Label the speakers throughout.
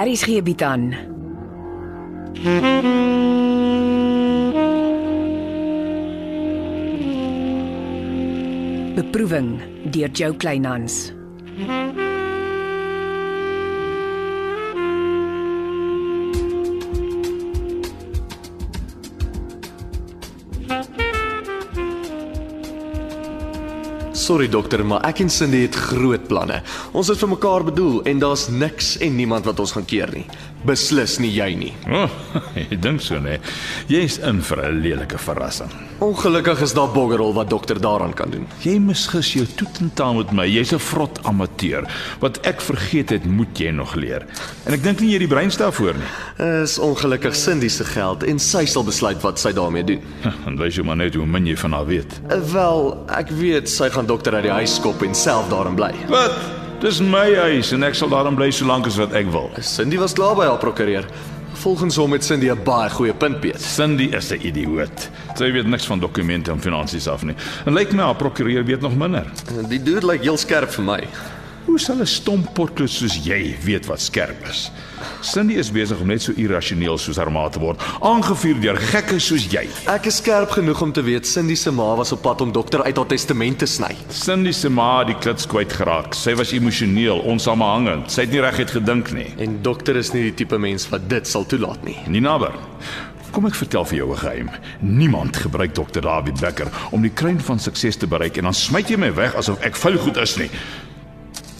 Speaker 1: Aries gee bied aan. Beproeving deur Jo Kleinhans.
Speaker 2: Sorry dokter, maar ek en Cindy het groot planne. Ons het vir mekaar bedoel en daar's niks en niemand wat ons gaan keer nie. Beslis nie jy nie.
Speaker 3: Oh, ek dink so nee. Jy's in vir 'n lelike verrassing.
Speaker 2: Ongelukkig is daar boggerol wat dokter daaraan kan doen.
Speaker 3: Jy misgis jou toetentaal met my. Jy's 'n vrot amateur. Wat ek vergeet het, moet jy nog leer. En ek dink nie jy het die breinste daarvoor nie.
Speaker 2: Is ongelukkig Cindy se geld en sy sal besluit wat sy daarmee doen.
Speaker 3: En wys jou maar net hoe min jy van haar weet.
Speaker 2: Eh, Wel, ek weet sy gaan dokter uit die huis skop en self daarin bly.
Speaker 3: Wat? Dis my huis en ek sal daarin bly solank as wat ek wil.
Speaker 2: Cindy was klaar by haar prokureur. Volgens hom het Cindy 'n baie goeie punt beet.
Speaker 3: Cindy is 'n idioot. Sy weet niks van dokumente en finansies af nie. En lyk my haar prokureur weet nog minder.
Speaker 2: Die dude lyk heel skerp vir my.
Speaker 3: Hoe sal 'n stom potlood soos jy weet wat skerp is? Cindy is besig om net so irrasioneel soos haar ma te word, aangevuur deur gekke soos jy.
Speaker 2: Ek is skerp genoeg om te weet Cindy se ma was op pad om dokter uit haar testament te sny.
Speaker 3: Cindy se ma het die klits kwyt geraak. Sy was emosioneel, onsamehangend. Sy het nie reguit gedink nie.
Speaker 2: En dokter is nie die tipe mens wat dit sal toelaat nie.
Speaker 3: Nie nader. Kom ek vertel vir jou 'n geheim. Niemand gebruik Dr. Dawie Becker om die kruin van sukses te bereik en dan smyt jy my weg asof ek vuil goed is nie.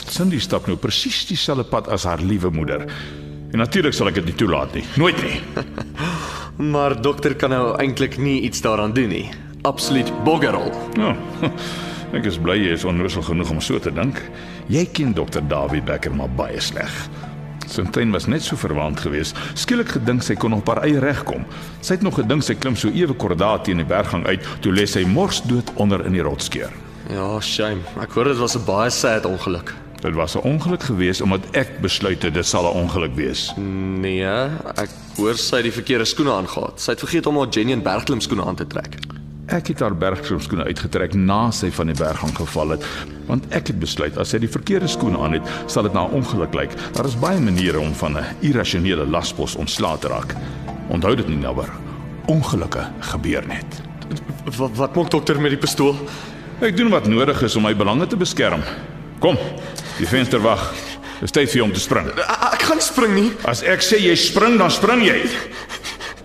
Speaker 3: Cindy stap nou presies dieselfde pad as haar liewe moeder. En natuurlik sal ek dit nie toelaat nie. Nooit nie.
Speaker 2: Maar dokter kan nou eintlik nie iets daaraan doen nie. Absoluut boggerol.
Speaker 3: Nou, ek is bly jy is onnoosel genoeg om so te dink. Jy ken dokter Dawie Becker maar baie sleg. Sintyn was net so verwant geweest. Skielik gedink sy kon op haar eie reg kom. Sy het nog gedink sy klim so ewe kordaat teen die berggang uit, toe lê sy mors dood onder in die rotskeur.
Speaker 2: Ja, shame. Ek hoor dit was 'n baie sad ongeluk.
Speaker 3: Dit was 'n ongeluk geweest omdat ek besluit het dit sal 'n ongeluk wees.
Speaker 2: Nee, ek hoor sy het die verkeerde skoene aangehad. Sy het vergeet om haar Jenny en bergklim skoene aan te trek.
Speaker 3: Ek het haar bergskoene uitgetrek na sy van die berggang geval het, want ek het besluit as sy die verkeerde skoene aan het, sal dit na 'n ongeluk lyk. Daar is baie maniere om van 'n irrasionele laspos ontslae te raak. Onthou dit nie naboer. Ongelukke gebeur net.
Speaker 2: Wat wat maak dokter met die pistool?
Speaker 3: Ek doen wat nodig is om my belange te beskerm. Kom. Die venster wag. Dis tyd vir jou om te spring.
Speaker 2: A- Ek gaan nie spring nie.
Speaker 3: As ek sê jy spring, dan spring jy.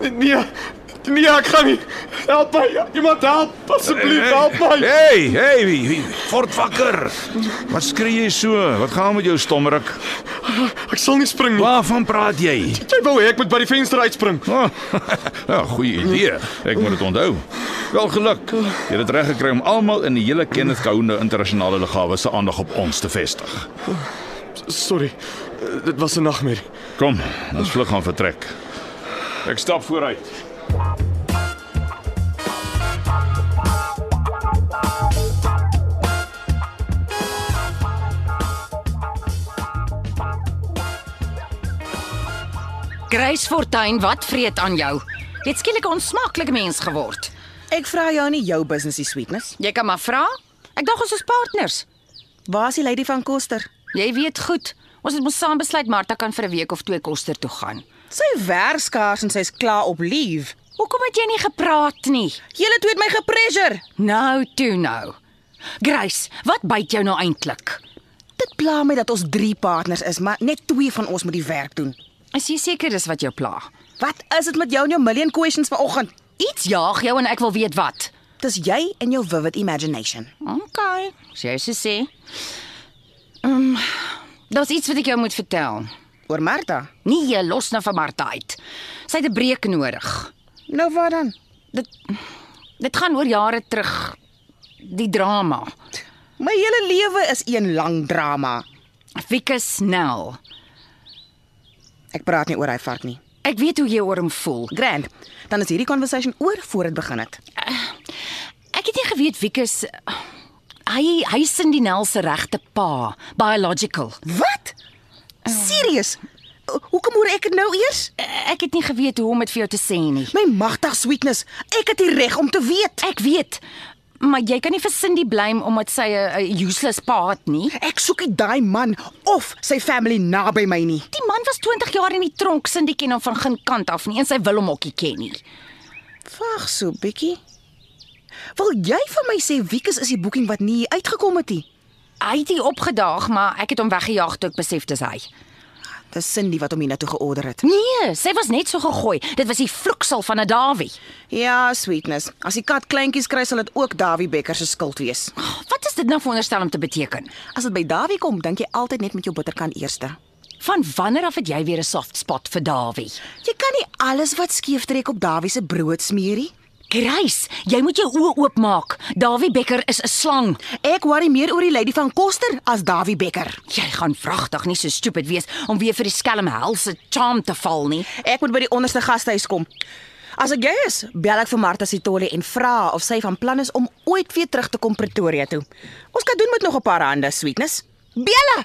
Speaker 2: Nee. Nee, ek gaan nie. Help my. Iemand help asseblief, help my.
Speaker 3: Hey, hey, wie- wie- word wakker. Wat skree jy so? Wat gaan aan met jou stommerik?
Speaker 2: Ek sal nie spring nie.
Speaker 3: Waarvan praat jy?
Speaker 2: Jy wou hê ek moet by die venster uitspring.
Speaker 3: Oh, ja, goeie idee. Ek moet dit onthou. Wel geluk. Jy het dit reg gekry om almal in die hele Kenneth Kaunda internasionale lughawe se aandag op ons te vestig.
Speaker 2: Sorry. Eh, Dit was 'n nagmerrie.
Speaker 3: Kom, ons vlug gaan vertrek. Ek stap vooruit.
Speaker 4: Grace Fortuin, wat vreet aan jou? Jy het skielik 'n onsmaaklike mens geword.
Speaker 5: Ek vra jou nie jou business die sweetness.
Speaker 4: Jy kan maar vra. Ek dink ons is partners.
Speaker 5: Waar is die lady van Koster?
Speaker 4: Jy weet goed. Ons het mos saam besluit Martha kan vir 'n week of twee koster toe gaan.
Speaker 5: Sy werk skaars en sy's klaar op leave.
Speaker 4: Hoekom het jy nie gepraat nie?
Speaker 5: Julle twee het my gepressure.
Speaker 4: Nou toe nou. Grace, wat byt jou nou eintlik?
Speaker 5: Dit pla my dat ons drie partners is, maar net twee van ons moet die werk doen.
Speaker 4: Is jy seker dis wat jou pla?
Speaker 5: Wat is dit met jou en jou million questions vanoggend?
Speaker 4: Iets jaag jou en ek wil weet wat.
Speaker 5: Dis jy en jou vivid imagination.
Speaker 4: OK, sê sy sê. Ehm, um, daar's iets wat ek jou moet vertel.
Speaker 5: Oor Martha.
Speaker 4: Nee, los nou van Martha uit. Sy het 'n breek nodig.
Speaker 5: Nou wat dan?
Speaker 4: Dit gaan oor jare terug die drama.
Speaker 5: My hele lewe is een lang drama.
Speaker 4: Wikus Nel.
Speaker 5: Ek praat nie oor hy vark nie.
Speaker 4: Ek weet hoe jy oor hom voel.
Speaker 5: Grand. Dan is hierdie conversation oor voor dit begin het.
Speaker 4: Ek het nie geweet Wikus hy hy sin die Nel se regte pa, biological.
Speaker 5: Wat? Serius? O- Hoekom hoor ek dit nou eers?
Speaker 4: Ek het nie geweet hoe om dit vir jou te sê nie.
Speaker 5: My magtig sweetness, ek het die reg om te weet.
Speaker 4: Ek weet. maar jy kan nie vir Cindy blame omdat sy 'n 'n useless pa het nie.
Speaker 5: Ek soek nie daai man of sy family naby my nie.
Speaker 4: Die man was 20 jaar in die tronk, Cindy ken hom van geen kant af nie en sy wil hom ook nie ken nie.
Speaker 5: Wag so bietjie. Wil jy vir my sê Wiekus is die boeking wat nie uitgekom het nie?
Speaker 4: Hy het hier opgedaag, maar ek het hom weggejaag toe ek besef dis hy.
Speaker 5: Dis Cindy wat hom hiernatoe georder het.
Speaker 4: Nee, sy was net so gegooi. Dit was die vloeksel van 'n Dawie.
Speaker 5: Ja, sweetness. As die kat kleintjies kry, sal dit ook Dawie Becker se skuld wees.
Speaker 4: Wat is dit nou veronderstel om te beteken?
Speaker 5: As dit by Dawie kom, dink jy altyd net met jou bitterkant eerste.
Speaker 4: Van wanneer af het jy weer 'n soft spot vir Dawie?
Speaker 5: Jy kan nie alles wat skeef trek op Dawie se brood smeer nie.
Speaker 4: Grace, jy moet jou oë oopmaak. Dawie Becker is 'n slang.
Speaker 5: Ek worry meer oor die lady van Koster as Dawie Becker.
Speaker 4: Jy gaan vragtig nie so stupid wees om weer vir die skelm helse charm te val nie.
Speaker 5: Ek moet by die onderste gastehuis kom. As ek jy is, bel ek vir Martha Sitoli en vra of sy van plan is om ooit weer terug te kom Pretoria toe. Ons kan doen met nog 'n paar hande, sweetness. Bella.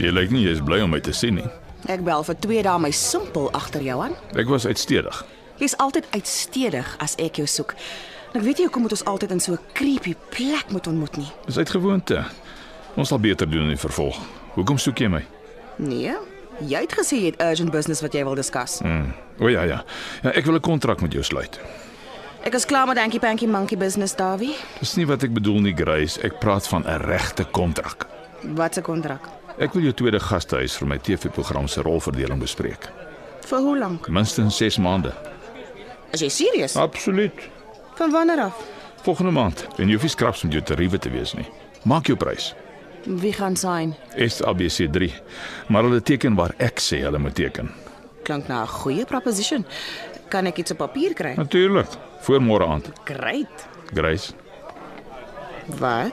Speaker 3: Jy lyk nie jy's bly om my te sien nie.
Speaker 5: Ek bel vir 2 dae my simpel agter jou aan.
Speaker 3: Ek was uitstedig.
Speaker 5: Jy's altyd uitstedig as ek jou soek. En ek weet jy hoekom moet ons altyd in so 'n creepy plek moet ontmoet nie.
Speaker 3: Dis uit gewoonte. Ons sal beter doen in die vervolg. Hoekom soek jy my?
Speaker 5: Nee. Jy het gesê jy het urgent business wat jy wil discuss.
Speaker 3: Hmm. O ja ja. ja ek wil 'n kontrak met jou sluit.
Speaker 5: Ek is klaar met dankie pankie monkey business, Dawie.
Speaker 3: Dis nie wat ek bedoel nie, Grace. Ek praat van 'n regte kontrak.
Speaker 5: Wat 'n kontrak.
Speaker 3: Ek wil jou tweede gastehuis vir my TV-program se rolverdeling bespreek.
Speaker 5: Vir hoe lank?
Speaker 3: Minstens 6 maande.
Speaker 5: Is jy serius?
Speaker 3: Absoluut.
Speaker 5: Ah. Van wanneer af?
Speaker 3: Volgende maand. En jy hoef nie skraps met jou tariewe te wees nie. Maak jou prys.
Speaker 5: Wie gaan sign?
Speaker 3: SABC3. Maar hulle teken waar ek sê hulle moet teken.
Speaker 5: Klink na 'n goeie proposition. Kan ek iets op papier kry?
Speaker 3: Natuurlik. Voor môre aand.
Speaker 5: Great.
Speaker 3: Grace,
Speaker 5: Wat?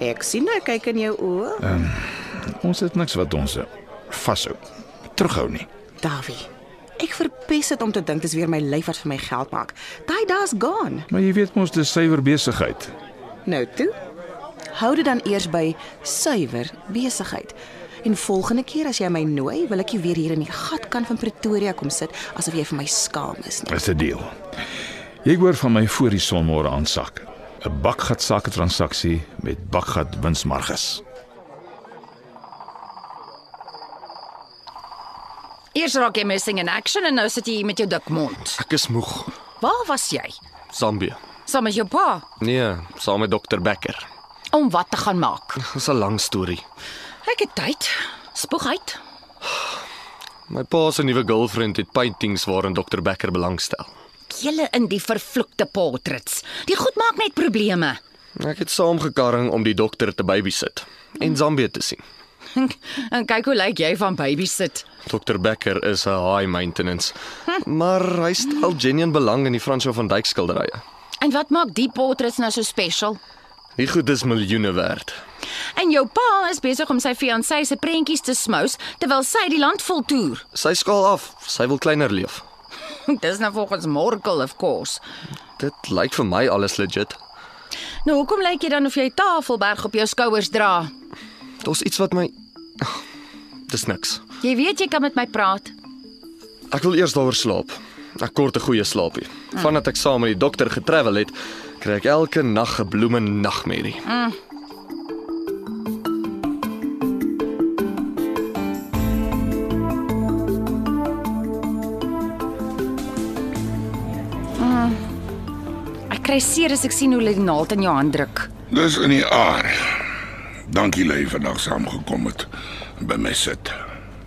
Speaker 5: Ek sien hy kyk in jou oë. Uh.
Speaker 3: ons het niks wat ons eh, vashou. Terughou nie.
Speaker 5: Dawie. Ek verpes dit om te dink dis weer my lyf wat vir my geld maak. Daai da's gone.
Speaker 3: Maar jy weet mos dis suiwer besigheid.
Speaker 5: Nou toe. Hou dit dan eers by suiwer besigheid. En volgende keer as jy my nooi, wil ek jou weer hier in die gatkant van Pretoria kom sit asof jy vir my skaam is. Nie.
Speaker 3: Dis 'n deal. Jy hoor van my voor die son môre aan sak. 'n Bakgat sake transaksie met bakgat winsmarges.
Speaker 4: Eers raak jy missing in action en nou sit jy hier met jou dik mond.
Speaker 2: Ek is moeg.
Speaker 4: Waar was jy?
Speaker 2: Zambië.
Speaker 4: Saam met jou pa
Speaker 2: Nee, saam met dokter Becker.
Speaker 4: om wat te gaan maak.
Speaker 2: Dis 'n lang storie.
Speaker 4: Ek het tyd. Spoeg uit.
Speaker 2: My pa se nuwe girlfriend het paintings waarin dokter Becker belangstel.
Speaker 4: Julle in die vervloekte portraits. Die goed maak net probleme.
Speaker 2: Ek het saamgekarring om die dokter te babysit en Zambië te sien.
Speaker 4: en kyk hoe lyk jy van baby sit.
Speaker 2: Dr Becker is 'n high maintenance, maar hy stel genuen belang in die Fransjo van Dyk skilderye.
Speaker 4: En wat maak die portraits nou so special?
Speaker 2: Die goed is miljoene werd.
Speaker 4: En jou pa is besig om sy fiancée se prentjies te smous terwyl sy die land vol toer.
Speaker 2: Sy skaal af, sy wil kleiner leef.
Speaker 4: Dis nou volgens Morkel of course.
Speaker 2: Dit lyk vir my alles legit.
Speaker 4: Nou hoekom lyk jy dan of jy Tafelberg op jou skouers dra?
Speaker 2: Daar's iets wat my Dis niks.
Speaker 4: Jy weet jy kan met my praat.
Speaker 2: Ek wil eers daaroor slaap. Ek kort 'n goeie slaapie. Vandat ek saam met die dokter getravel het, kry ek elke nag 'n bloeme nagmerrie.
Speaker 4: Ek kry seer as ek sien hoe hulle die naald in jou hand druk.
Speaker 6: Dis in die aard. Dankie lê vandag saamgekom het en by my sit.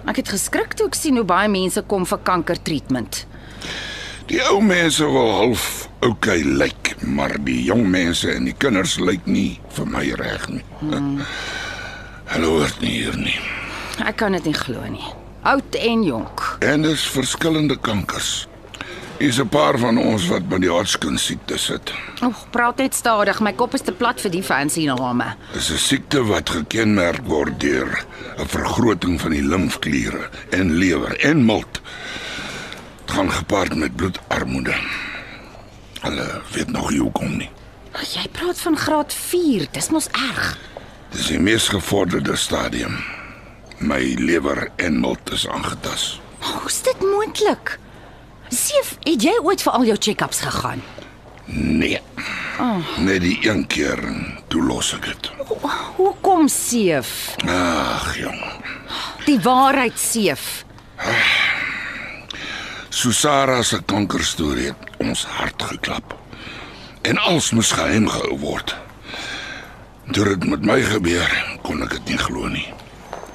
Speaker 4: Ek het geskrik toe ek sien hoe baie mense kom vir kanker treatment.
Speaker 6: Die ou mense wil half okay lyk, maar die jong mense en die kinders lyk nie vir my reg nie. Hulle hoort nie hier nie.
Speaker 4: Ek kan dit nie glo nie. Oud en jonk.
Speaker 6: En dis verskillende kankers. Is 'n paar van ons wat met die Hodgkin siekte sit.
Speaker 4: Oeg, praat net stadig. My kop is te plat vir die fancy name.
Speaker 6: Dis 'n siekte wat gekenmerk word deur 'n vergroting van die limfkliere en lewer en milt. Dit gaan gepaard met bloedarmoede. Hulle weet nog nie hoekom nie.
Speaker 4: Ag, Jy praat van graad 4. Dis mos erg.
Speaker 6: Dis die mees gevorderde stadium. My lewer en milt is aangetast.
Speaker 4: Hoe's dit moontlik? Seef, het jy ooit vir al jou check-ups gegaan?
Speaker 6: Nee. Net die een keer en toe los ek dit.
Speaker 4: Hoekom seef?
Speaker 6: Ag, jong.
Speaker 4: Die waarheid seef.
Speaker 6: Susara se kankerstorie het ons hart geklap. En als moes geheim gehou word. Toe dit met my gebeur, kon ek dit nie glo nie.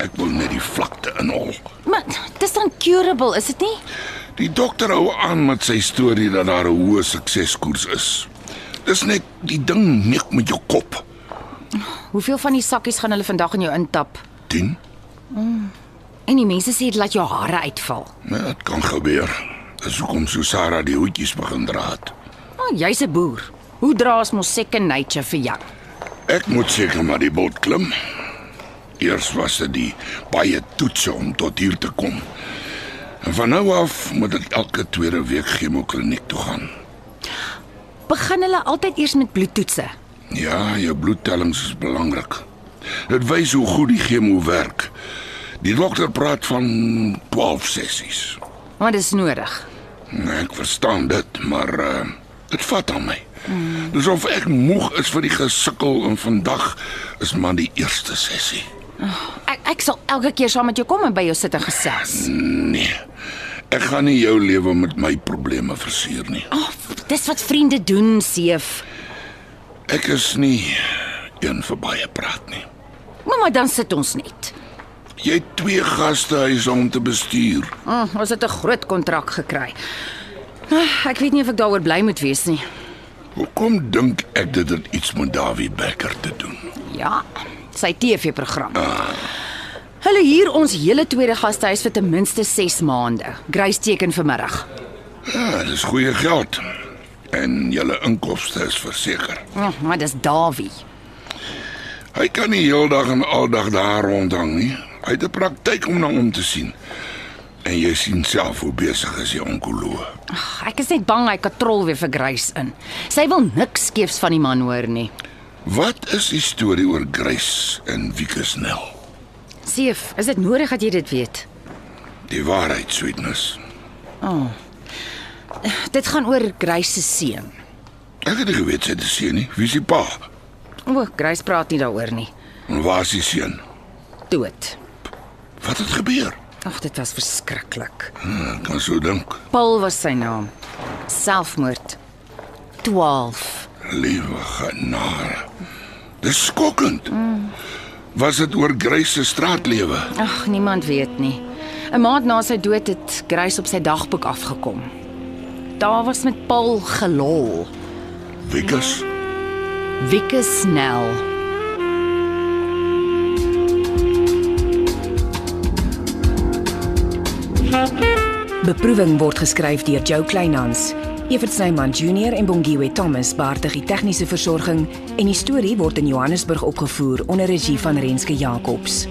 Speaker 6: Ek wil net die vlakte inhol.
Speaker 4: Maar dis dan curable, is dit nie?
Speaker 6: Die dokter hou aan met sy storie dat daar 'n hoë sukseskoers is. Dis net die ding nik met jou kop.
Speaker 4: Hoeveel van die sakkies gaan hulle vandag in jou intap?
Speaker 6: 10?
Speaker 4: En die mense sê dit laat jou hare uitval.
Speaker 6: Ja, dit kan gebeur. Dis hoekom Susara die hoedjies begin dra het.
Speaker 4: Maar oh, jy's 'n boer. Hoe draas mos second nature vir jou?
Speaker 6: Ek moet seker maar die boot klim. Eers was dit die baie toetse om tot hier te kom. En van nou af moet ek elke tweede week chemokliniek toe gaan.
Speaker 4: Begin hulle altyd eers met bloedtoetse.
Speaker 6: Ja, jou bloedtellings is belangrik. Dit wys hoe goed die chemo werk. Die dokter praat van 12 sessies.
Speaker 4: Maar dis nodig.
Speaker 6: Ek verstaan dit, maar uh, dit vat aan my. Dis of ek moeg is vir die gesukkel en vandag is maar die eerste sessie.
Speaker 4: Ek ek sal elke keer saam met jou kom en by jou sit en gesels.
Speaker 6: Nee. Ek gaan nie jou lewe met my probleme verseer nie.
Speaker 4: Oh, dis wat vriende doen, Seef.
Speaker 6: Ek is nie een vir baie praat nie.
Speaker 4: Maar maar dan sit ons net.
Speaker 6: Jy het twee gastehuise om te bestuur.
Speaker 4: Oh, ons het 'n groot kontrak gekry. Ah, Ek weet nie of ek daaroor bly moet wees nie.
Speaker 6: Hoekom dink ek dit het iets met Dawie Becker te doen?
Speaker 4: Ja, sy TV-program. Hulle huur ons hele tweede gastehuis vir ten minste 6 maande. Grace teken vanmiddag.
Speaker 6: Ja, dis goeie geld. En julle inkomste is verseker.
Speaker 4: Oh, maar dis Dawie.
Speaker 6: Hy kan nie heeldag en aldag daar rondhang nie. Hy het 'n praktyk om na om te sien. En jy sien self hoe besig is die onkoloog.
Speaker 4: Ag, Ek is net bang hy katrol weer vir Grace in. Sy wil niks skeefs van die man hoor nie.
Speaker 6: Wat is die storie oor Grace en Wikus Nel?
Speaker 4: Seef, is dit nodig dat jy dit weet?
Speaker 6: Die waarheid, sweetness.
Speaker 4: Dit gaan oor Grace se seun.
Speaker 6: Ek het nie geweet sy het 'n seun nie. Wie is die pa?
Speaker 4: O, Grace praat nie daaroor nie.
Speaker 6: En waar is die seun?
Speaker 4: Dood.
Speaker 6: Wat het gebeur?
Speaker 4: Ag, dit was verskriklik.
Speaker 6: Hm, ek kan so dink.
Speaker 4: Paul was sy naam. Selfmoord. 12.
Speaker 6: Liewe genade. Dis skokkend. Was dit oor Grace se straatlewe?
Speaker 4: Ag, niemand weet nie. 'n Maand na sy dood het Grace op sy dagboek afgekom. Daar was met Paul gelol.
Speaker 6: Wikus?
Speaker 4: Wieke snel.
Speaker 1: Beproeving word geskryf deur Jo Kleinhans. Evert Snyman Junior en Bongwe Thomas baartig die tegniese versorging en die storie word in Johannesburg opgevoer onder regie van Renske Jacobs.